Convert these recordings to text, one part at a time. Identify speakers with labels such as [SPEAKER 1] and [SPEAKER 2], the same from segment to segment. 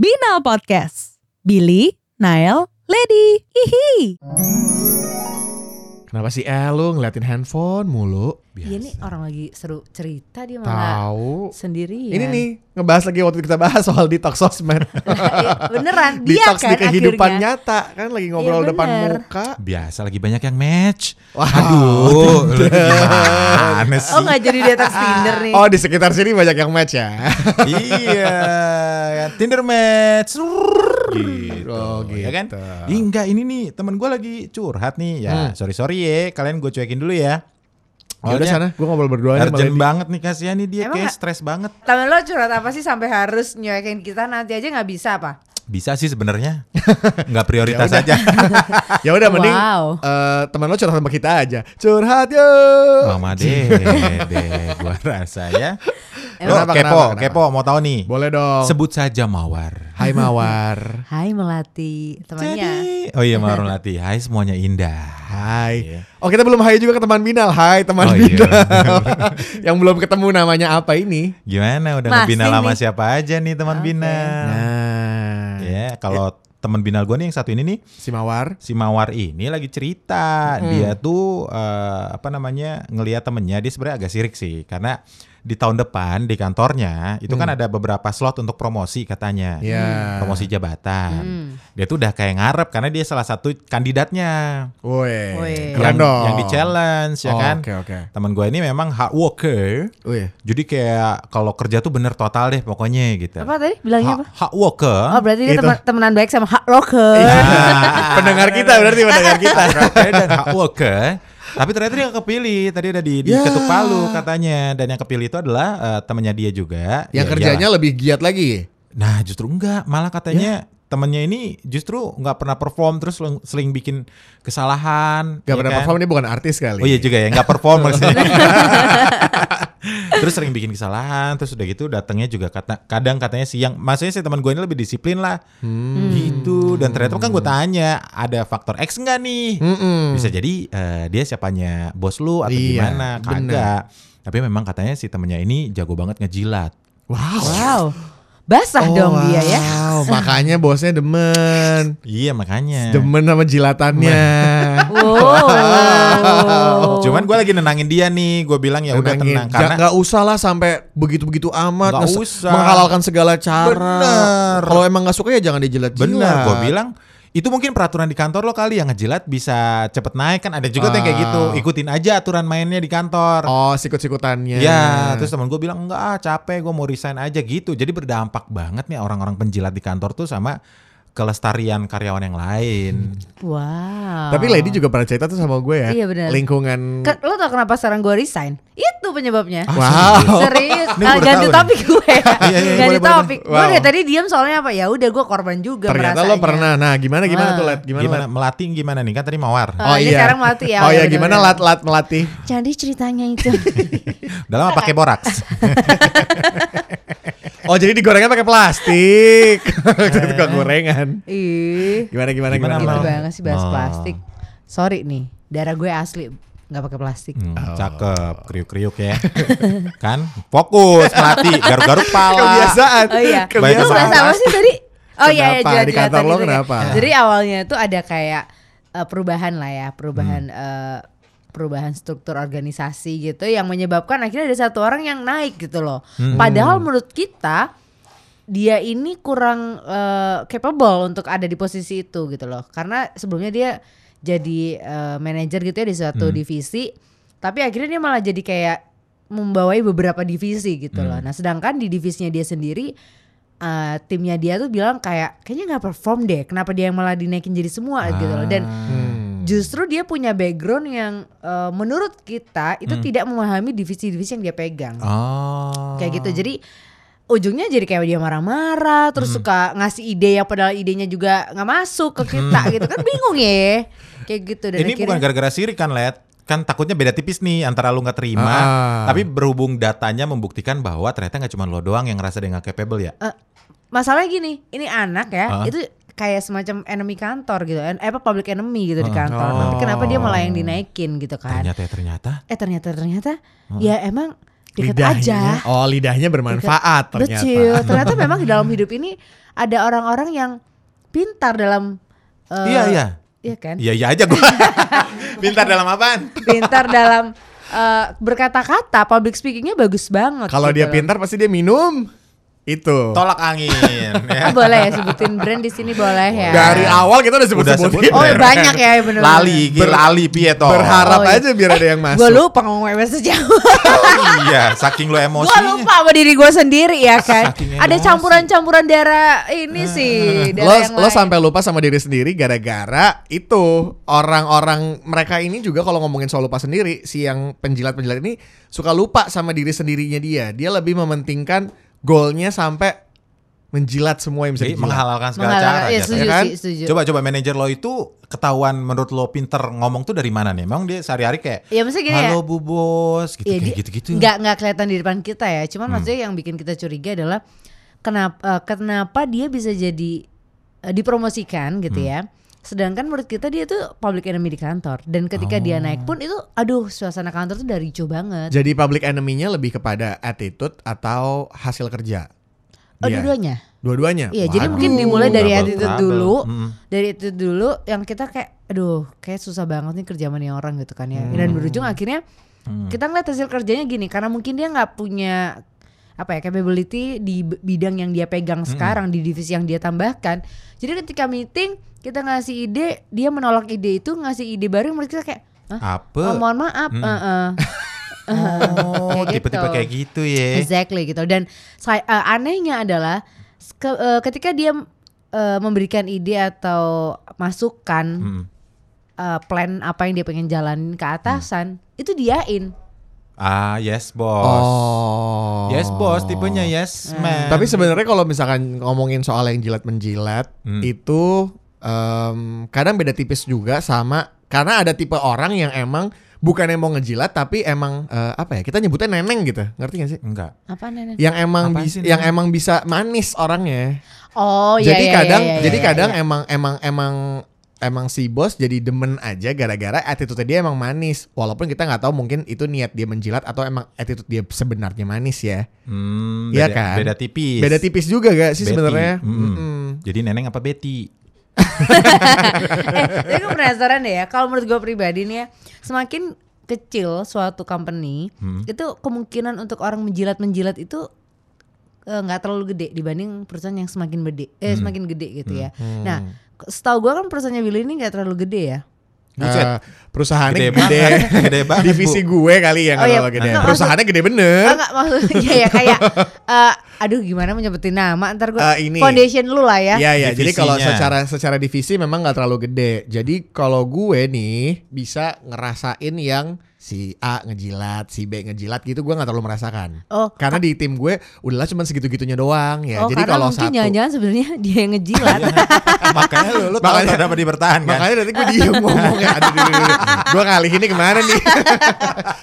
[SPEAKER 1] Binal Podcast. Billy, Nael, Lady. Hihi.
[SPEAKER 2] Kenapa sih eh, lu ngeliatin handphone mulu?
[SPEAKER 3] Iya nih orang lagi seru cerita dia malah
[SPEAKER 2] Tahu.
[SPEAKER 3] sendirian.
[SPEAKER 2] Ini nih ngebahas lagi waktu kita bahas soal detox sosmed.
[SPEAKER 3] Iya, Beneran dia
[SPEAKER 2] detox
[SPEAKER 3] kan
[SPEAKER 2] di kehidupan
[SPEAKER 3] akhirnya.
[SPEAKER 2] nyata kan lagi ngobrol
[SPEAKER 3] Iya,
[SPEAKER 2] depan
[SPEAKER 3] bener.
[SPEAKER 2] muka.
[SPEAKER 4] Biasa lagi banyak yang match.
[SPEAKER 2] Wah.
[SPEAKER 4] Aduh, lu gimana sih?
[SPEAKER 3] Oh nggak jadi di atas Tinder nih.
[SPEAKER 2] Oh di sekitar sini banyak yang match ya.
[SPEAKER 4] iya, ya, Tinder match. Gitu.
[SPEAKER 2] Oh,
[SPEAKER 4] Ya kan?
[SPEAKER 2] gitu.
[SPEAKER 4] Ih, enggak, ini nih temen gue lagi curhat nih. Ya,
[SPEAKER 2] Hmm.
[SPEAKER 4] sorry sorry ya, kalian gue cuekin dulu ya.
[SPEAKER 2] Ya udah sana, gua ngobrol berdua aja sama
[SPEAKER 4] Urgent
[SPEAKER 2] Lady.
[SPEAKER 4] banget nih kasihan nih dia
[SPEAKER 3] Emang
[SPEAKER 4] kayak
[SPEAKER 3] nggak-
[SPEAKER 4] stres banget.
[SPEAKER 3] Temen lo curhat apa sih sampai harus nyuekin kita nanti aja nggak bisa apa?
[SPEAKER 4] Bisa sih sebenarnya. Enggak prioritas
[SPEAKER 2] Ya udah.
[SPEAKER 4] aja.
[SPEAKER 2] Ya udah mending
[SPEAKER 3] Wow.
[SPEAKER 2] eh, teman lo curhat sama kita aja. Curhat yuk.
[SPEAKER 4] Mama deh, deh gua rasa ya. Lo
[SPEAKER 2] Kenapa,
[SPEAKER 4] kepo,
[SPEAKER 2] kenapa, kenapa?
[SPEAKER 4] kepo mau tahu nih.
[SPEAKER 2] Boleh dong.
[SPEAKER 4] Sebut saja Mawar.
[SPEAKER 2] Hai Mawar.
[SPEAKER 3] Hai melati temannya.
[SPEAKER 4] Jadi, oh iya Marun Lati. Hai semuanya indah. Iya.
[SPEAKER 2] Hai. Oh kita belum hai juga ke teman Binal. Hai teman
[SPEAKER 4] Oh, iya.
[SPEAKER 2] Binal. Yang belum ketemu namanya apa ini?
[SPEAKER 4] Gimana udah
[SPEAKER 3] Masih
[SPEAKER 4] ngebinal sama
[SPEAKER 3] nih.
[SPEAKER 4] siapa aja nih teman
[SPEAKER 3] Oke.
[SPEAKER 4] binal?
[SPEAKER 2] Nah,
[SPEAKER 4] Ya, kalau teman binal gue nih yang satu ini nih
[SPEAKER 2] si Mawar.
[SPEAKER 4] si Mawar ini lagi cerita
[SPEAKER 2] Mm-mm.
[SPEAKER 4] dia tuh eh, apa namanya ngelihat temennya dia sebenarnya agak sirik sih karena di tahun depan di kantornya itu kan
[SPEAKER 2] Mm.
[SPEAKER 4] ada beberapa slot untuk promosi katanya
[SPEAKER 2] Ya.
[SPEAKER 4] promosi jabatan
[SPEAKER 3] Hmm.
[SPEAKER 4] dia tuh udah kayak ngarep karena dia salah satu kandidatnya
[SPEAKER 2] Woi.
[SPEAKER 3] Woi.
[SPEAKER 2] Keren
[SPEAKER 4] yang
[SPEAKER 2] dong.
[SPEAKER 4] yang di challenge ya
[SPEAKER 2] Oh,
[SPEAKER 4] kan
[SPEAKER 2] Oke oke.
[SPEAKER 4] teman gue ini memang hard worker
[SPEAKER 2] Wih.
[SPEAKER 4] Jadi kayak kalau kerja tuh bener total deh pokoknya gitu.
[SPEAKER 3] Apa tadi bilangnya apa?
[SPEAKER 4] Hak worker.
[SPEAKER 3] Oh berarti dia
[SPEAKER 2] Itu. Eh.
[SPEAKER 3] temen- temenan baik sama hak rocker.
[SPEAKER 4] Ah.
[SPEAKER 2] Iya. Pendengar kita berarti pendengar kita.
[SPEAKER 4] Worker dan hak worker. Tapi ternyata dia kepilih. Tadi udah di,
[SPEAKER 2] Ya.
[SPEAKER 4] diketuk palu katanya. Dan yang kepilih itu adalah eh, temannya dia juga.
[SPEAKER 2] Yang
[SPEAKER 4] Ya
[SPEAKER 2] kerjanya Ya.
[SPEAKER 4] iyalah.
[SPEAKER 2] lebih giat lagi.
[SPEAKER 4] Nah justru enggak. Malah katanya temennya ini justru nggak pernah perform. Terus sel- seling bikin kesalahan.
[SPEAKER 2] Gak
[SPEAKER 4] ya
[SPEAKER 2] pernah
[SPEAKER 4] kan?
[SPEAKER 2] perform ini bukan artis kali.
[SPEAKER 4] Oh iya juga ya, nggak perform maksudnya. terus sering bikin kesalahan, terus udah gitu datangnya juga kata kadang katanya siang. Maksudnya sih teman gue ini lebih disiplin lah.
[SPEAKER 2] Hmm.
[SPEAKER 4] Gitu dan ternyata kan gue tanya, ada faktor X nggak nih?
[SPEAKER 2] Mm-mm.
[SPEAKER 4] Bisa jadi eh, dia siapanya bos lu atau
[SPEAKER 2] Iya,
[SPEAKER 4] gimana? Kagak. Tapi memang katanya si temennya ini jago banget ngejilat.
[SPEAKER 2] Wow.
[SPEAKER 3] Wow. Basah
[SPEAKER 2] Oh,
[SPEAKER 3] dong dia ya.
[SPEAKER 2] wow. Makanya bosnya demen.
[SPEAKER 4] Iya makanya.
[SPEAKER 2] Demen sama jilatannya.
[SPEAKER 4] Iya.
[SPEAKER 3] Wow.
[SPEAKER 4] Cuman gue lagi nenangin dia nih, gue bilang ya udah
[SPEAKER 2] Tenangin.
[SPEAKER 4] tenang
[SPEAKER 2] Ja-
[SPEAKER 4] karena
[SPEAKER 2] nggak usah lah sampai begitu-begitu amat
[SPEAKER 4] Nggak
[SPEAKER 2] nges-
[SPEAKER 4] usah.
[SPEAKER 2] menghalalkan segala cara.
[SPEAKER 4] Bener.
[SPEAKER 2] Kalau emang nggak suka ya jangan dijilat-jilat.
[SPEAKER 4] Bener, gue bilang itu mungkin peraturan di kantor lo kali yang ngejilat bisa cepet naik kan ada juga tuh yang kayak
[SPEAKER 2] Ah.
[SPEAKER 4] gitu ikutin aja aturan mainnya di kantor.
[SPEAKER 2] Oh, iya. sikut-sikutannya.
[SPEAKER 4] Ya, terus teman gue bilang enggak ah, capek gue mau resign aja gitu. Jadi berdampak banget nih orang-orang penjilat di kantor tuh sama kelestarian karyawan yang lain.
[SPEAKER 2] Hmm.
[SPEAKER 3] Wow.
[SPEAKER 2] Tapi Lady juga pernah cerita tuh sama gue ya.
[SPEAKER 3] Iya, bener.
[SPEAKER 2] Lingkungan
[SPEAKER 3] Ke- lo tau kenapa sekarang gue resign? Itu penyebabnya.
[SPEAKER 2] Wow.
[SPEAKER 3] Serius,
[SPEAKER 4] Ini
[SPEAKER 3] Ah,
[SPEAKER 4] baru
[SPEAKER 3] ganti
[SPEAKER 4] tahu
[SPEAKER 3] topik gue.
[SPEAKER 4] iya, iya,
[SPEAKER 3] ganti
[SPEAKER 2] boleh, boleh,
[SPEAKER 3] topik.
[SPEAKER 2] boleh.
[SPEAKER 3] Gue
[SPEAKER 2] Wow.
[SPEAKER 3] dari tadi diam soalnya apa? Ya udah gue korban juga
[SPEAKER 2] Ternyata
[SPEAKER 3] merasanya.
[SPEAKER 2] lo pernah. Nah, gimana gimana
[SPEAKER 3] Wah.
[SPEAKER 2] tuh Lat? Gimana,
[SPEAKER 4] Gimana
[SPEAKER 2] Lat?
[SPEAKER 4] melatih gimana nih kan tadi mawar.
[SPEAKER 3] Oh, ini sekarang melatih ya.
[SPEAKER 2] Oh
[SPEAKER 3] Iya,
[SPEAKER 2] iya,
[SPEAKER 3] bener,
[SPEAKER 2] gimana
[SPEAKER 3] bener.
[SPEAKER 2] Lat Lat melatih?
[SPEAKER 3] Jadi ceritanya itu.
[SPEAKER 4] Udah lama pakai boraks.
[SPEAKER 2] Oh, jadi digorengnya pakai plastik. Jadi tukang gorengan.
[SPEAKER 3] Ih,
[SPEAKER 2] Gimana gimana gimana?
[SPEAKER 4] Gimana,
[SPEAKER 3] gitu
[SPEAKER 4] Mal?
[SPEAKER 2] Lat?
[SPEAKER 3] banget sih bahas
[SPEAKER 4] Oh.
[SPEAKER 3] plastik. Sorry nih, darah gue asli nggak pakai plastik.
[SPEAKER 4] Hmm,
[SPEAKER 2] Oh.
[SPEAKER 4] cakep, kriuk-kriuk ya. kan? Fokus melatih, garuk-garuk pala.
[SPEAKER 2] Kebiasaan.
[SPEAKER 3] Oh iya.
[SPEAKER 4] Banyak
[SPEAKER 3] Lu
[SPEAKER 2] Kebiasaan.
[SPEAKER 3] bahasa apa sih tadi? Oh iya, iya
[SPEAKER 2] Kenapa?
[SPEAKER 3] jelas
[SPEAKER 2] Di kantor lo
[SPEAKER 3] gitu ya.
[SPEAKER 2] kenapa?
[SPEAKER 3] Jadi awalnya tuh ada kayak eh, perubahan lah ya, perubahan
[SPEAKER 2] Hmm.
[SPEAKER 3] eh, perubahan struktur organisasi gitu yang menyebabkan akhirnya ada satu orang yang naik gitu loh.
[SPEAKER 2] Hmm.
[SPEAKER 3] Padahal menurut kita dia ini kurang eh, capable untuk ada di posisi itu gitu loh. Karena sebelumnya dia jadi eh, manajer gitu ya di suatu
[SPEAKER 2] Hmm.
[SPEAKER 3] divisi, tapi akhirnya dia malah jadi kayak membawai beberapa divisi gitu loh.
[SPEAKER 4] Hmm.
[SPEAKER 3] Nah, sedangkan di divisinya dia sendiri eh, timnya dia tuh bilang kayak kayaknya nggak perform deh. Kenapa dia yang malah dinaikin jadi semua gitu loh.
[SPEAKER 4] Ah.
[SPEAKER 3] Dan
[SPEAKER 2] Hmm.
[SPEAKER 3] justru dia punya background yang eh, menurut kita itu tidak memahami divisi-divisi yang dia pegang
[SPEAKER 4] Hmm. Oh.
[SPEAKER 3] kayak gitu jadi ujungnya jadi kayak dia marah-marah
[SPEAKER 4] Hmm.
[SPEAKER 3] terus suka ngasih ide yang padahal idenya juga nggak masuk ke kita gitu kan bingung ya kayak gitu dan
[SPEAKER 4] ini bukan
[SPEAKER 3] akhirnya
[SPEAKER 4] gara-gara sirik kan Let kan takutnya beda tipis nih antara lu nggak terima
[SPEAKER 2] Ah.
[SPEAKER 4] tapi berhubung datanya membuktikan bahwa ternyata nggak cuma lo doang yang ngerasa dia nggak capable ya
[SPEAKER 3] eh, masalahnya gini ini anak ya
[SPEAKER 4] Ah.
[SPEAKER 3] itu kayak semacam enemy kantor gitu en- eh, apa public enemy gitu di
[SPEAKER 4] Ah.
[SPEAKER 3] kantor
[SPEAKER 2] Oh.
[SPEAKER 3] tapi kenapa dia malah yang dinaikin gitu kan
[SPEAKER 4] ternyata ya ternyata
[SPEAKER 3] eh ternyata ternyata ya emang Deket
[SPEAKER 2] lidahnya. Oh, lidahnya bermanfaat ternyata.
[SPEAKER 3] Betul. Ternyata memang di dalam hidup ini ada orang-orang yang pintar dalam eh,
[SPEAKER 4] Iya iya.
[SPEAKER 3] Iya kan?
[SPEAKER 4] Iya iya aja gua. Pintar dalam apaan?
[SPEAKER 3] Pintar dalam eh, berkata-kata, public speakingnya bagus banget.
[SPEAKER 2] Kalau
[SPEAKER 3] gitu
[SPEAKER 2] dia
[SPEAKER 3] loh.
[SPEAKER 2] pintar pasti dia minum. Itu.
[SPEAKER 4] Tolak angin.
[SPEAKER 3] Oh,
[SPEAKER 4] ya.
[SPEAKER 3] boleh ya sebutin brand di sini boleh ya.
[SPEAKER 2] Dari awal kita udah Iya.
[SPEAKER 4] Udah
[SPEAKER 2] sebut-sebutin.
[SPEAKER 4] sebut.
[SPEAKER 3] Oh,
[SPEAKER 2] Ren.
[SPEAKER 3] banyak ya benar.
[SPEAKER 4] Lali, gila, lali piye toh.
[SPEAKER 3] Oh,
[SPEAKER 2] Berharap
[SPEAKER 3] iya.
[SPEAKER 2] aja biar ada yang masuk.
[SPEAKER 3] Gue lupa iya, ngomong WWS sejauh.
[SPEAKER 4] iya, saking lu
[SPEAKER 3] Gue
[SPEAKER 4] emosinya.
[SPEAKER 3] lupa sama diri gue sendiri ya kan.
[SPEAKER 4] Saking
[SPEAKER 3] Ada
[SPEAKER 4] emosi. Hmm.
[SPEAKER 3] campuran-campuran darah ini sih.
[SPEAKER 2] lo
[SPEAKER 3] darah yang
[SPEAKER 2] lo
[SPEAKER 3] lain.
[SPEAKER 2] sampai lupa sama diri sendiri gara-gara itu orang-orang mereka ini juga kalau ngomongin soal lupa sendiri si yang penjilat-penjilat ini suka lupa sama diri sendirinya dia dia lebih mementingkan goalnya sampai menjilat semua yang bisa
[SPEAKER 4] Jadi
[SPEAKER 2] dijilat
[SPEAKER 4] menghalalkan segala
[SPEAKER 3] Menghalang-
[SPEAKER 4] cara. ya
[SPEAKER 3] Iya,
[SPEAKER 4] jatuhnya.
[SPEAKER 3] setuju
[SPEAKER 2] kan?
[SPEAKER 3] sih, setuju.
[SPEAKER 4] Coba coba manajer lo itu ketahuan menurut lo pinter ngomong tuh dari mana nih? Emang dia sehari-hari kayak
[SPEAKER 3] Ya mesti gini ya.
[SPEAKER 4] halo bu bos gitu
[SPEAKER 3] Iya,
[SPEAKER 4] kayak
[SPEAKER 3] dia
[SPEAKER 4] gitu-gitu. Hmm.
[SPEAKER 3] nggak nggak kelihatan di depan kita ya. Cuman maksudnya yang bikin kita curiga adalah kenapa eh, kenapa dia bisa jadi eh, dipromosikan gitu
[SPEAKER 4] Hmm.
[SPEAKER 3] ya. Sedangkan menurut kita dia tuh public enemy di kantor dan ketika dia naik
[SPEAKER 4] Oh.
[SPEAKER 3] pun itu aduh suasana kantor tuh dari ricuh banget.
[SPEAKER 2] jadi public enemy-nya lebih kepada attitude atau hasil kerja
[SPEAKER 4] Iya.
[SPEAKER 3] Oh,
[SPEAKER 2] Dia.
[SPEAKER 3] dua-duanya.
[SPEAKER 2] dua-duanya
[SPEAKER 3] Iya, jadi
[SPEAKER 4] Waduh.
[SPEAKER 3] mungkin dimulai dari
[SPEAKER 4] Double
[SPEAKER 3] attitude
[SPEAKER 4] trouble.
[SPEAKER 3] dulu.
[SPEAKER 4] Mm.
[SPEAKER 3] Dari itu dulu yang kita kayak aduh, kayak susah banget nih kerja sama nih orang gitu kan ya. Dan berujung akhirnya kita ngeliat hasil kerjanya gini karena mungkin dia nggak punya apa ya capability di b- bidang yang dia pegang sekarang di divisi yang dia tambahkan. Jadi ketika meeting kita ngasih ide, dia menolak ide itu ngasih ide baru yang menurut kita kayak Hah? Oh,
[SPEAKER 4] Apa?
[SPEAKER 3] mohon maaf.
[SPEAKER 4] Mm.
[SPEAKER 3] eh, eh."
[SPEAKER 4] Oh,
[SPEAKER 3] Kayak
[SPEAKER 4] tipe-tipe
[SPEAKER 3] gitu.
[SPEAKER 4] kayak gitu
[SPEAKER 2] Eh.
[SPEAKER 4] ya.
[SPEAKER 3] Exactly gitu. Dan saya eh, anehnya adalah s- ke- eh, ketika dia eh, memberikan ide atau masukan
[SPEAKER 2] Hmm.
[SPEAKER 4] Mm.
[SPEAKER 3] eh, plan apa yang dia pengen jalanin ke atasan,
[SPEAKER 2] Hmm.
[SPEAKER 3] itu diain.
[SPEAKER 4] Ah, yes bos.
[SPEAKER 2] oh
[SPEAKER 4] Yes bos, tipenya
[SPEAKER 3] Ah.
[SPEAKER 4] yes man.
[SPEAKER 2] Tapi sebenarnya kalau misalkan ngomongin soal yang jilat menjilat
[SPEAKER 4] Hmm.
[SPEAKER 2] itu em, kadang beda tipis juga sama karena ada tipe orang yang emang bukan yang mau ngejilat tapi emang eh, apa ya kita nyebutnya neneng gitu ngerti gak sih?
[SPEAKER 4] enggak.
[SPEAKER 3] Apa neneng?
[SPEAKER 2] Yang emang
[SPEAKER 4] Apaan
[SPEAKER 2] bis-
[SPEAKER 4] sih
[SPEAKER 2] yang
[SPEAKER 4] neneng?
[SPEAKER 2] emang bisa manis orangnya.
[SPEAKER 3] Oh iya
[SPEAKER 2] jadi
[SPEAKER 3] iya,
[SPEAKER 2] kadang
[SPEAKER 3] iya, iya,
[SPEAKER 2] jadi
[SPEAKER 3] iya,
[SPEAKER 2] kadang
[SPEAKER 3] iya.
[SPEAKER 2] emang emang emang emang si bos jadi demen aja gara-gara attitude dia emang manis walaupun kita nggak tahu mungkin itu niat dia menjilat atau emang attitude dia sebenarnya manis ya.
[SPEAKER 4] Hmm,
[SPEAKER 2] Iya
[SPEAKER 4] beda,
[SPEAKER 2] kan?
[SPEAKER 4] beda tipis.
[SPEAKER 2] Beda tipis juga gak sih
[SPEAKER 4] Betty.
[SPEAKER 2] sebenarnya?
[SPEAKER 4] Mm.
[SPEAKER 2] Mm-mm.
[SPEAKER 4] Jadi neneng apa Betty?
[SPEAKER 3] eh, tapi gue penasaran deh ya. Kalau menurut gue pribadi nih ya, semakin kecil suatu company,
[SPEAKER 4] Hmm.
[SPEAKER 3] itu kemungkinan untuk orang menjilat-menjilat itu eh, nggak terlalu gede dibanding perusahaan yang semakin gede, eh
[SPEAKER 2] Hmm.
[SPEAKER 3] semakin gede gitu ya. Nah, k- setahu gue kan perusahaannya Billy ini nggak terlalu gede ya.
[SPEAKER 4] Buset.
[SPEAKER 2] Eh, perusahaannya
[SPEAKER 4] Gede
[SPEAKER 2] gede,
[SPEAKER 4] banget. Gede banget, Bu.
[SPEAKER 2] divisi gue kali yang
[SPEAKER 3] Oh, iya.
[SPEAKER 2] kalau gede.
[SPEAKER 3] Nah,
[SPEAKER 2] Perusahaannya gede bener.
[SPEAKER 3] Ah, nggak maksudnya ya kayak, eh, aduh gimana mau nyebutin nama ntar gue
[SPEAKER 2] Eh, ini.
[SPEAKER 3] foundation lu lah ya.
[SPEAKER 2] Iya iya. Jadi kalau
[SPEAKER 4] Divisinya.
[SPEAKER 2] secara secara divisi memang nggak terlalu gede. Jadi kalau gue nih bisa ngerasain yang si A ngejilat, si B ngejilat gitu gue nggak terlalu merasakan.
[SPEAKER 3] Oh,
[SPEAKER 2] Karena di tim gue udahlah cuma segitu-gitunya doang ya.
[SPEAKER 3] oh
[SPEAKER 2] Jadi
[SPEAKER 3] karena
[SPEAKER 2] kalau
[SPEAKER 3] mungkin
[SPEAKER 2] satu
[SPEAKER 3] jangan-jangan sebenarnya dia yang ngejilat.
[SPEAKER 4] Makanya lu lu tahu
[SPEAKER 2] Makanya-
[SPEAKER 4] kenapa kan? dipertahankan.
[SPEAKER 2] Makanya nanti gue diem ngomongnya Aduh, aduh, aduh, aduh. Gue kali ini kemana nih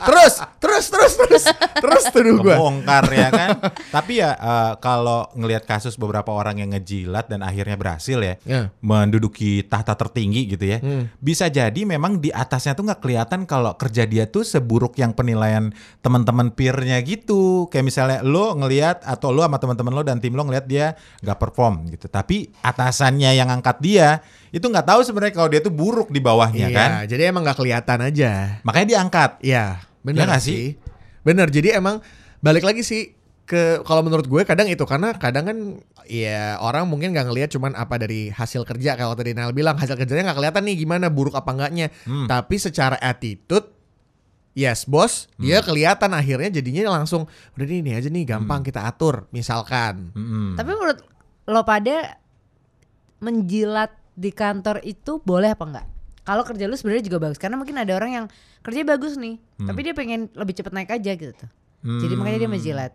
[SPEAKER 2] Terus Terus Terus Terus Terus tuduh gue
[SPEAKER 4] kebongkar ya kan. Tapi ya eh, kalau ngelihat kasus beberapa orang yang ngejilat dan akhirnya berhasil ya
[SPEAKER 2] Ya.
[SPEAKER 4] menduduki tahta tertinggi gitu ya.
[SPEAKER 2] Hmm.
[SPEAKER 4] Bisa jadi memang di atasnya tuh nggak kelihatan kalau kerja dia tuh seburuk yang penilaian teman-teman peer-nya gitu. Kayak misalnya lo ngelihat atau lo sama teman-teman lo dan tim lo ngelihat dia nggak perform gitu. Tapi atasannya yang angkat dia itu nggak tahu sebenarnya kalau dia tuh buruk di bawahnya
[SPEAKER 2] Iya
[SPEAKER 4] kan.
[SPEAKER 2] jadi emang gak kelihatan aja
[SPEAKER 4] Makanya diangkat.
[SPEAKER 2] Iya Bener
[SPEAKER 4] Iya nggak
[SPEAKER 2] sih Bener jadi emang Balik lagi sih ke kalau menurut gue kadang itu karena kadang kan ya orang mungkin nggak ngelihat cuman apa dari hasil kerja kalau tadi Nel bilang hasil kerjanya nggak kelihatan nih gimana buruk apa enggaknya
[SPEAKER 4] Hmm.
[SPEAKER 2] tapi secara attitude yes bos
[SPEAKER 4] Hmm.
[SPEAKER 2] dia kelihatan akhirnya jadinya langsung udah nih ini aja nih
[SPEAKER 4] Hmm.
[SPEAKER 2] gampang kita atur misalkan
[SPEAKER 4] Mm-mm.
[SPEAKER 3] Tapi menurut lo pada menjilat di kantor itu boleh apa enggak? Kalau kerja lu sebenarnya juga bagus karena mungkin ada orang yang kerja bagus nih,
[SPEAKER 4] Hmm.
[SPEAKER 3] tapi dia pengen lebih cepet naik aja gitu. tuh. Jadi makanya dia menjilat.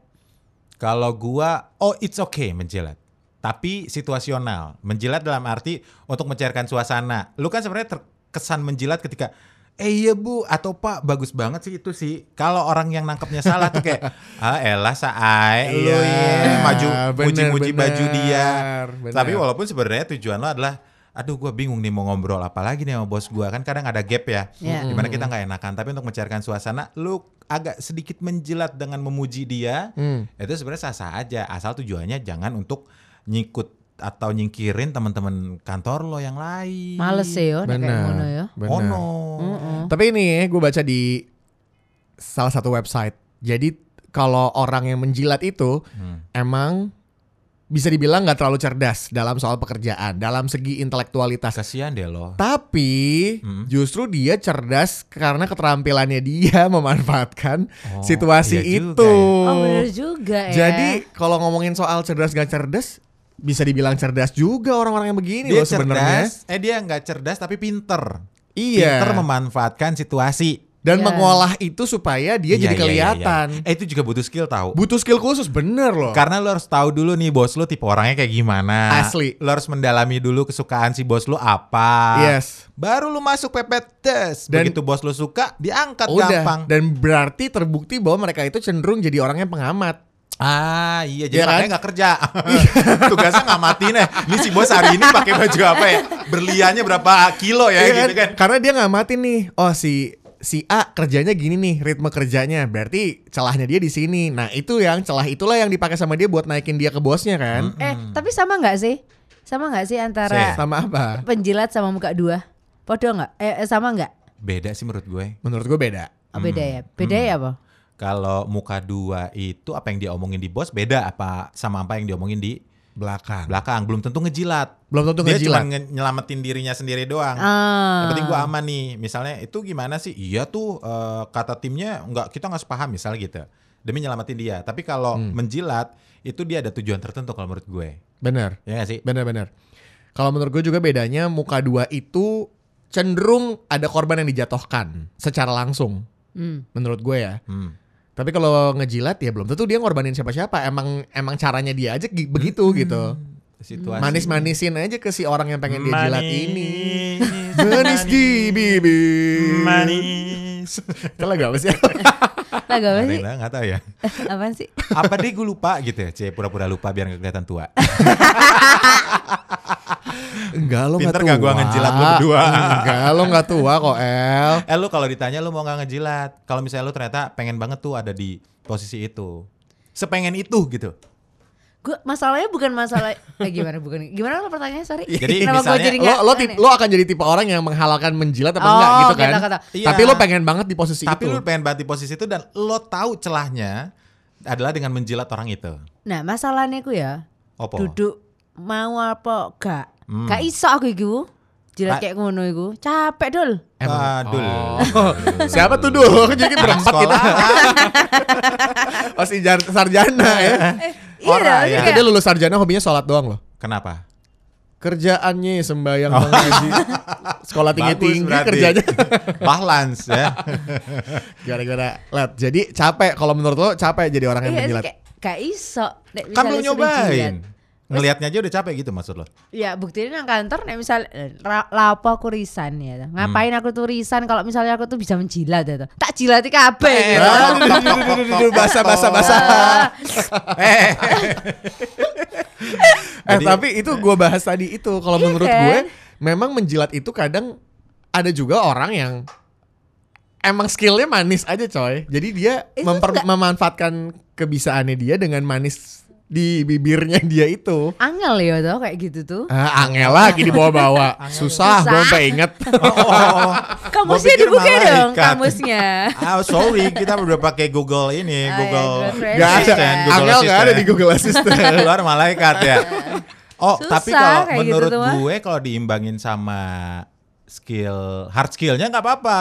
[SPEAKER 4] Kalau gua, oh it's okay menjilat. Tapi situasional. Menjilat dalam arti untuk mencairkan suasana. Lu kan sebenarnya terkesan menjilat ketika Eh iya bu atau pak bagus banget sih itu sih kalau orang yang nangkepnya salah tuh kayak ah elah saai lu ya maju
[SPEAKER 2] iya. bener,
[SPEAKER 4] muji-muji baju dia
[SPEAKER 2] bener.
[SPEAKER 4] tapi walaupun sebenarnya tujuan lo adalah aduh gue bingung nih mau ngobrol apa lagi nih sama bos gue kan kadang ada gap ya
[SPEAKER 3] Iya.
[SPEAKER 4] dimana kita nggak enakan tapi untuk mencairkan suasana lu agak sedikit menjilat dengan memuji dia
[SPEAKER 2] Hmm.
[SPEAKER 4] itu sebenarnya sah-sah aja asal tujuannya jangan untuk nyikut atau nyingkirin teman-teman kantor lo yang lain
[SPEAKER 3] Males ya yo, nek kayak
[SPEAKER 2] Benar.
[SPEAKER 3] ngono yo.
[SPEAKER 2] Benar.
[SPEAKER 4] oh no
[SPEAKER 3] Heeh.
[SPEAKER 2] Tapi ini gue baca di salah satu website. Jadi kalau orang yang menjilat itu
[SPEAKER 4] Hmm.
[SPEAKER 2] emang bisa dibilang nggak terlalu cerdas dalam soal pekerjaan, dalam segi intelektualitas.
[SPEAKER 4] kasihan deh lo
[SPEAKER 2] Tapi
[SPEAKER 4] Hmm.
[SPEAKER 2] justru dia cerdas karena keterampilannya dia memanfaatkan
[SPEAKER 4] Oh,
[SPEAKER 2] situasi
[SPEAKER 4] iya juga
[SPEAKER 2] itu.
[SPEAKER 3] Oh bener juga ya.
[SPEAKER 2] Jadi kalau ngomongin soal cerdas gak cerdas, bisa dibilang cerdas juga orang-orang yang begini
[SPEAKER 4] dia
[SPEAKER 2] loh sebenarnya.
[SPEAKER 4] cerdas eh dia nggak cerdas tapi pinter
[SPEAKER 2] Iya.
[SPEAKER 4] pinter memanfaatkan situasi
[SPEAKER 2] Dan
[SPEAKER 3] Iya.
[SPEAKER 2] mengolah itu supaya dia jadi
[SPEAKER 4] Iya, iya, iya, iya.
[SPEAKER 2] kelihatan.
[SPEAKER 4] Eh itu juga butuh skill tahu.
[SPEAKER 2] Butuh skill khusus bener loh.
[SPEAKER 4] Karena lo harus tahu dulu nih bos lo tipe orangnya kayak gimana.
[SPEAKER 2] Asli.
[SPEAKER 4] Lo harus mendalami dulu kesukaan si bos lo apa.
[SPEAKER 2] yes.
[SPEAKER 4] Baru lo masuk pepet tes.
[SPEAKER 2] Dan-
[SPEAKER 4] Begitu bos lo suka diangkat
[SPEAKER 2] Udah.
[SPEAKER 4] gampang.
[SPEAKER 2] Dan berarti terbukti bahwa mereka itu cenderung jadi orang yang pengamat.
[SPEAKER 4] Ah iya
[SPEAKER 2] Iya
[SPEAKER 4] jadi
[SPEAKER 2] kan?
[SPEAKER 4] makanya nggak kerja. Tugasnya nggak mati nih. Ini si bos hari ini pakai baju apa ya? Berliannya berapa kilo ya
[SPEAKER 2] Iya
[SPEAKER 4] gitu kan?
[SPEAKER 2] Karena dia ngamatin nih. Oh si si A kerjanya gini nih ritme kerjanya. Berarti celahnya dia di sini. Nah itu yang celah itulah yang dipakai sama dia buat naikin dia ke bosnya
[SPEAKER 4] Hmm,
[SPEAKER 2] kan. Nah,
[SPEAKER 3] eh tapi sama nggak sih? Sama nggak sih antara
[SPEAKER 2] Sama apa?
[SPEAKER 3] penjilat sama muka dua? Podo nggak? Eh eh, sama nggak?
[SPEAKER 4] Beda sih menurut gue.
[SPEAKER 2] Menurut gue beda.
[SPEAKER 3] Oh, beda
[SPEAKER 4] Hmm.
[SPEAKER 3] ya. Beda ya apa?
[SPEAKER 4] Kalau muka dua itu apa yang dia omongin di bos beda apa sama apa yang diomongin di
[SPEAKER 2] Belakang.
[SPEAKER 4] belakang belum tentu ngejilat.
[SPEAKER 2] Belum tentu
[SPEAKER 4] dia
[SPEAKER 2] ngejilat.
[SPEAKER 4] cuma nge- nyelamatin dirinya sendiri doang.
[SPEAKER 3] Ah.
[SPEAKER 4] Yang penting gua aman nih. Misalnya itu gimana sih? Iya tuh eh, kata timnya nggak kita nggak sepaham misalnya gitu. Demi nyelamatin dia. Tapi kalau
[SPEAKER 2] Hmm.
[SPEAKER 4] menjilat itu dia ada tujuan tertentu kalau menurut gue.
[SPEAKER 2] Bener.
[SPEAKER 4] Ya nggak sih?
[SPEAKER 2] Bener-bener. Kalau menurut gue juga bedanya muka dua itu cenderung ada korban yang dijatuhkan secara langsung.
[SPEAKER 3] Hmm.
[SPEAKER 2] Menurut gue ya.
[SPEAKER 4] Hmm.
[SPEAKER 2] Tapi kalau ngejilat ya belum tentu dia ngorbanin siapa-siapa. Emang emang caranya dia aja gi- begitu
[SPEAKER 4] Hmm,
[SPEAKER 2] gitu.
[SPEAKER 4] Situasi.
[SPEAKER 2] Manis-manisin aja ke si orang yang pengen dia jilat
[SPEAKER 4] Manis,
[SPEAKER 2] ini. Manis di bibir.
[SPEAKER 4] Manis.
[SPEAKER 2] Salah gak sih?
[SPEAKER 3] Lagu apa sih?
[SPEAKER 4] Ada nggak tahu ya.
[SPEAKER 3] Apaan sih?
[SPEAKER 4] Apa deh gue lupa gitu ya? Cie pura-pura lupa biar nggak kelihatan tua.
[SPEAKER 2] Enggak lo gak
[SPEAKER 4] Pinter
[SPEAKER 2] tua.
[SPEAKER 4] nggak gua ngejilat lo berdua?
[SPEAKER 2] Enggak lo gak tua kok El.
[SPEAKER 4] Eh lu kalau ditanya lu mau nggak ngejilat? Kalau misalnya lu ternyata pengen banget tuh ada di posisi itu. Sepengen itu gitu.
[SPEAKER 3] Gua masalahnya bukan masalah eh, gimana bukan gimana lo pertanyaannya sorry.
[SPEAKER 4] Jadi
[SPEAKER 3] Kenapa gua
[SPEAKER 4] misalnya
[SPEAKER 3] jadi
[SPEAKER 2] Lo,
[SPEAKER 3] nggak-
[SPEAKER 2] lo,
[SPEAKER 3] aneh?
[SPEAKER 2] tip- lo akan jadi tipe orang yang menghalalkan menjilat apa
[SPEAKER 3] Oh,
[SPEAKER 2] enggak gitu kan?
[SPEAKER 3] gitu, gitu.
[SPEAKER 4] Iya.
[SPEAKER 2] Tapi lo pengen banget di posisi
[SPEAKER 4] Tapi
[SPEAKER 2] itu.
[SPEAKER 4] lu pengen banget di posisi itu dan lo tahu celahnya adalah dengan menjilat orang itu.
[SPEAKER 3] Nah, masalahnya ku ya
[SPEAKER 4] Opo.
[SPEAKER 3] duduk mau apa gak?
[SPEAKER 4] Hmm.
[SPEAKER 3] Gak iso aku iku.
[SPEAKER 4] Ra-
[SPEAKER 3] Jilat kayak ngono iku. Capek, Dul.
[SPEAKER 2] Emang-
[SPEAKER 4] Aduh.
[SPEAKER 2] Oh. Siapa tuh dul? Jadi berempat kita. Oh si jar- sarjana ya.
[SPEAKER 3] Iya, maksudnya
[SPEAKER 4] Ora, ya.
[SPEAKER 2] Itu
[SPEAKER 3] kayak-
[SPEAKER 2] Kan dia lulus sarjana hobinya sholat doang loh.
[SPEAKER 4] Kenapa?
[SPEAKER 2] Kerjaannya sembahyang mengaji. Sekolah tinggi
[SPEAKER 4] Bagus
[SPEAKER 2] tinggi
[SPEAKER 4] berarti.
[SPEAKER 2] kerjanya.
[SPEAKER 4] Balance ya.
[SPEAKER 2] Gara-gara let. Jadi capek. Kalau menurut lo capek jadi orang yang
[SPEAKER 3] Iya,
[SPEAKER 2] menjilat.
[SPEAKER 3] kayak gak iso. Nek
[SPEAKER 4] kan
[SPEAKER 3] misalnya
[SPEAKER 4] belum
[SPEAKER 3] sering jilat.
[SPEAKER 4] nyobain. Ngelihatnya aja udah capek gitu maksud lo.
[SPEAKER 3] Ya buktinya nang kantor nih misal ra- lapo aku risan ya. Ngapain
[SPEAKER 4] Hmm.
[SPEAKER 3] aku tuh risan kalau misalnya aku tuh bisa menjilat ya. toh. Tak jilati kabeh.
[SPEAKER 4] Eh,
[SPEAKER 3] gitu.
[SPEAKER 2] Ah, duh, duh, duh, duh, duh, duh, duh, Basah basah basah. Eh
[SPEAKER 4] Jadi-
[SPEAKER 2] tapi itu gue bahas tadi itu kalau
[SPEAKER 3] Iya
[SPEAKER 2] menurut
[SPEAKER 3] kan?
[SPEAKER 2] gue memang menjilat itu kadang ada juga orang yang emang skillnya manis aja coy. Jadi dia
[SPEAKER 3] Itu
[SPEAKER 2] memper-
[SPEAKER 3] nggak-
[SPEAKER 2] memanfaatkan kebisaannya dia dengan manis di bibirnya dia itu.
[SPEAKER 3] Angel ya tuh kayak gitu tuh.
[SPEAKER 2] Ah, angel lagi dibawa-bawa.
[SPEAKER 3] Susah.
[SPEAKER 2] Susah, gue sampai inget.
[SPEAKER 4] Oh,
[SPEAKER 3] Kamusnya
[SPEAKER 4] pikir
[SPEAKER 3] dibuka dong,
[SPEAKER 4] malaikat.
[SPEAKER 3] kamusnya.
[SPEAKER 4] Ah, sorry, kita udah pakai Google ini,
[SPEAKER 3] Ah, ya,
[SPEAKER 4] Google.
[SPEAKER 3] Google Translate.
[SPEAKER 2] Gak ada.
[SPEAKER 4] Assistant,
[SPEAKER 2] iya,
[SPEAKER 4] Google
[SPEAKER 2] Angel gak ada
[SPEAKER 4] Assistant.
[SPEAKER 2] di Google Assistant.
[SPEAKER 4] luar malaikat ya. Oh,
[SPEAKER 3] Susah
[SPEAKER 4] tapi kalau
[SPEAKER 3] kayak gitu
[SPEAKER 4] menurut
[SPEAKER 3] tuh mah.
[SPEAKER 4] gue kalau diimbangin sama skill hard skillnya nggak apa-apa.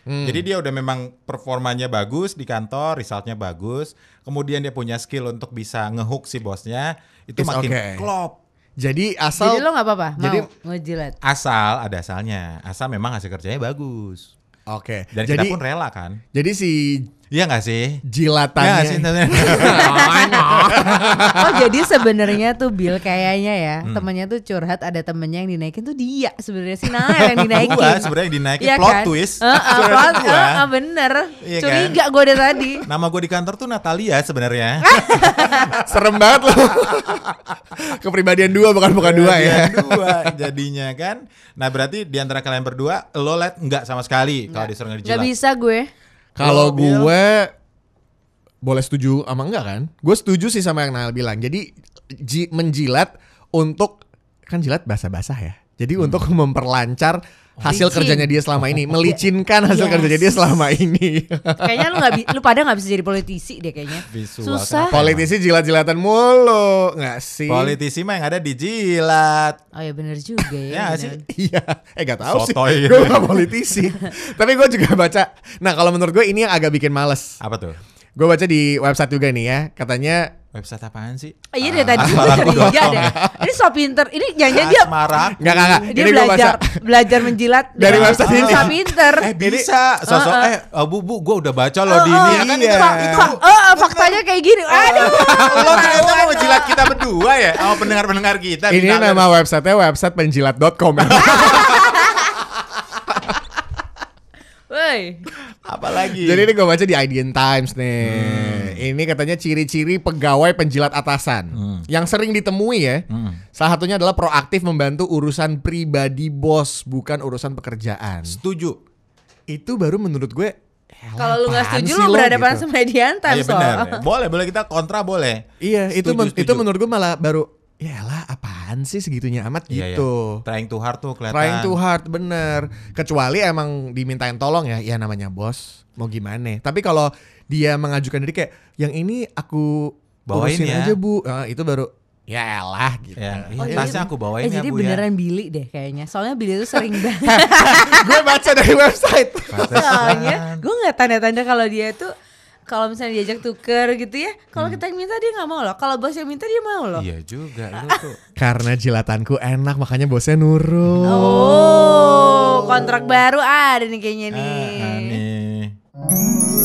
[SPEAKER 2] Hmm.
[SPEAKER 4] Jadi dia udah memang performanya bagus di kantor, resultnya bagus. Kemudian dia punya skill untuk bisa ngehook si bosnya, itu
[SPEAKER 2] It's
[SPEAKER 4] makin
[SPEAKER 2] okay.
[SPEAKER 4] klop.
[SPEAKER 2] Jadi asal
[SPEAKER 3] Jadi lo gak apa-apa mau
[SPEAKER 2] Jadi-
[SPEAKER 3] ngejilat.
[SPEAKER 4] Asal ada asalnya, asal memang hasil kerjanya bagus.
[SPEAKER 2] Oke.
[SPEAKER 4] Dan
[SPEAKER 2] Jadi
[SPEAKER 4] kita pun rela kan.
[SPEAKER 2] jadi si
[SPEAKER 4] Iya nggak sih? Iya nggak sih?
[SPEAKER 2] jilatannya.
[SPEAKER 3] Oh jadi sebenarnya tuh Bill kayaknya ya
[SPEAKER 4] Hmm.
[SPEAKER 3] temannya tuh curhat ada temennya yang dinaikin tuh dia sebenarnya si Nael yang dinaikin.
[SPEAKER 4] Gua sebenarnya yang dinaikin
[SPEAKER 3] Iya
[SPEAKER 4] plot
[SPEAKER 3] kan?
[SPEAKER 4] twist.
[SPEAKER 3] Eh, eh,
[SPEAKER 4] Sebenarnya
[SPEAKER 3] plot,
[SPEAKER 4] gua.
[SPEAKER 3] eh, eh, bener.
[SPEAKER 4] Iya kan?
[SPEAKER 3] Curiga gue dari tadi.
[SPEAKER 4] Nama gue di kantor tuh Natalia sebenarnya.
[SPEAKER 2] Serem banget loh. Kepribadian dua bukan bukan dua ya.
[SPEAKER 4] Dia dua jadinya kan. Nah berarti di antara kalian berdua lo let nggak sama sekali kalau disuruh
[SPEAKER 3] Gak
[SPEAKER 4] ngejilat.
[SPEAKER 3] bisa gue.
[SPEAKER 2] Kalau
[SPEAKER 4] Kalau Bill-
[SPEAKER 2] gue boleh setuju sama enggak kan? Gue setuju sih sama yang Nael bilang. Jadi ji- menjilat untuk kan jilat basah-basah ya. Jadi
[SPEAKER 4] Hmm.
[SPEAKER 2] untuk memperlancar hasil
[SPEAKER 3] Licin.
[SPEAKER 2] kerjanya dia selama ini, melicinkan hasil
[SPEAKER 3] Yes.
[SPEAKER 2] kerjanya dia selama ini.
[SPEAKER 3] Kayaknya lu nggak bi- lu pada nggak bisa jadi politisi deh kayaknya.
[SPEAKER 4] Visual,
[SPEAKER 3] Susah.
[SPEAKER 4] kenapa?
[SPEAKER 2] Politisi jilat-jilatan mulu, nggak sih?
[SPEAKER 4] Politisi mah yang ada dijilat.
[SPEAKER 3] Oh ya bener juga ya.
[SPEAKER 4] Ya,
[SPEAKER 3] bener.
[SPEAKER 4] sih.
[SPEAKER 2] Iya, eh gak tahu sih.
[SPEAKER 4] Sotoy gitu.
[SPEAKER 2] Gue gak politisi. Tapi gue juga baca. Nah kalau menurut gue ini yang agak bikin males.
[SPEAKER 4] Apa tuh?
[SPEAKER 2] Gue baca di website juga nih ya, katanya
[SPEAKER 4] Website apaan sih?
[SPEAKER 3] Oh, Iya deh tadi gue
[SPEAKER 4] Asmara
[SPEAKER 3] curiga
[SPEAKER 4] gua.
[SPEAKER 3] deh. Ini so pinter. Ini jangan Ya, dia
[SPEAKER 4] Asmara.
[SPEAKER 2] nggak nggak nggak.
[SPEAKER 3] dia
[SPEAKER 2] Ini gue baca.
[SPEAKER 3] belajar belajar menjilat
[SPEAKER 2] Dari
[SPEAKER 3] dengan
[SPEAKER 2] website ini.
[SPEAKER 3] so pinter.
[SPEAKER 4] Eh bisa sosok eh oh, bu bu gue udah baca loh di ini
[SPEAKER 3] Oh,
[SPEAKER 4] ya kan
[SPEAKER 3] itu,
[SPEAKER 4] itu
[SPEAKER 3] fak-
[SPEAKER 4] itu
[SPEAKER 3] fak- oh, oh, faktanya kayak gini. Aduh.
[SPEAKER 4] lo ternyata mau jilat kita berdua ya sama pendengar pendengar kita
[SPEAKER 2] Ini nama websitenya website penjilat.com.
[SPEAKER 3] Woi.
[SPEAKER 4] apalagi
[SPEAKER 2] Jadi ini gue baca di Idean Times nih. Ini katanya ciri-ciri pegawai penjilat atasan yang sering ditemui ya. Salah satunya adalah proaktif membantu urusan pribadi bos, bukan urusan pekerjaan.
[SPEAKER 4] setuju
[SPEAKER 2] Itu baru menurut gue. "Eh,
[SPEAKER 3] Kalau lu nggak
[SPEAKER 2] apaan
[SPEAKER 3] setuju
[SPEAKER 2] sih
[SPEAKER 3] lu berhadapan
[SPEAKER 2] gitu.
[SPEAKER 3] sama Edian Times
[SPEAKER 4] Iya benar
[SPEAKER 3] Eh,
[SPEAKER 4] boleh boleh kita kontra boleh
[SPEAKER 2] Iya, itu
[SPEAKER 4] Setuju,
[SPEAKER 2] men-
[SPEAKER 4] setuju.
[SPEAKER 2] itu menurut gue malah baru ya lah apaan sih segitunya amat
[SPEAKER 4] Iya, iya.
[SPEAKER 2] gitu.
[SPEAKER 4] trying too hard tuh kelihatan
[SPEAKER 2] Trying too hard bener Kecuali emang dimintain tolong ya Ya namanya bos Mau gimana Tapi kalau dia mengajukan diri kayak Yang ini aku
[SPEAKER 4] Bawain
[SPEAKER 2] urusin
[SPEAKER 4] ya."
[SPEAKER 2] aja bu Eh, Itu baru Ya elah gitu
[SPEAKER 4] ya,
[SPEAKER 3] Oh, iya, iya.
[SPEAKER 4] tasnya aku bawain
[SPEAKER 3] eh,
[SPEAKER 4] ya
[SPEAKER 3] jadi
[SPEAKER 4] bu ya
[SPEAKER 3] beneran Billy deh kayaknya. Soalnya Billy itu sering banget
[SPEAKER 2] Gue baca dari website
[SPEAKER 3] soalnya. Gue nggak tanda-tanda kalau dia tuh kalau misalnya diajak tuker gitu ya, kalau kita yang minta dia nggak mau loh. Kalau bos yang minta dia mau loh.
[SPEAKER 4] Hmm. iya juga lu tuh
[SPEAKER 2] Karena jilatanku enak Makanya bosnya nurut
[SPEAKER 3] Oh, kontrak baru ada nih kayaknya
[SPEAKER 4] Oh. Ah,
[SPEAKER 3] nih.
[SPEAKER 4] aneh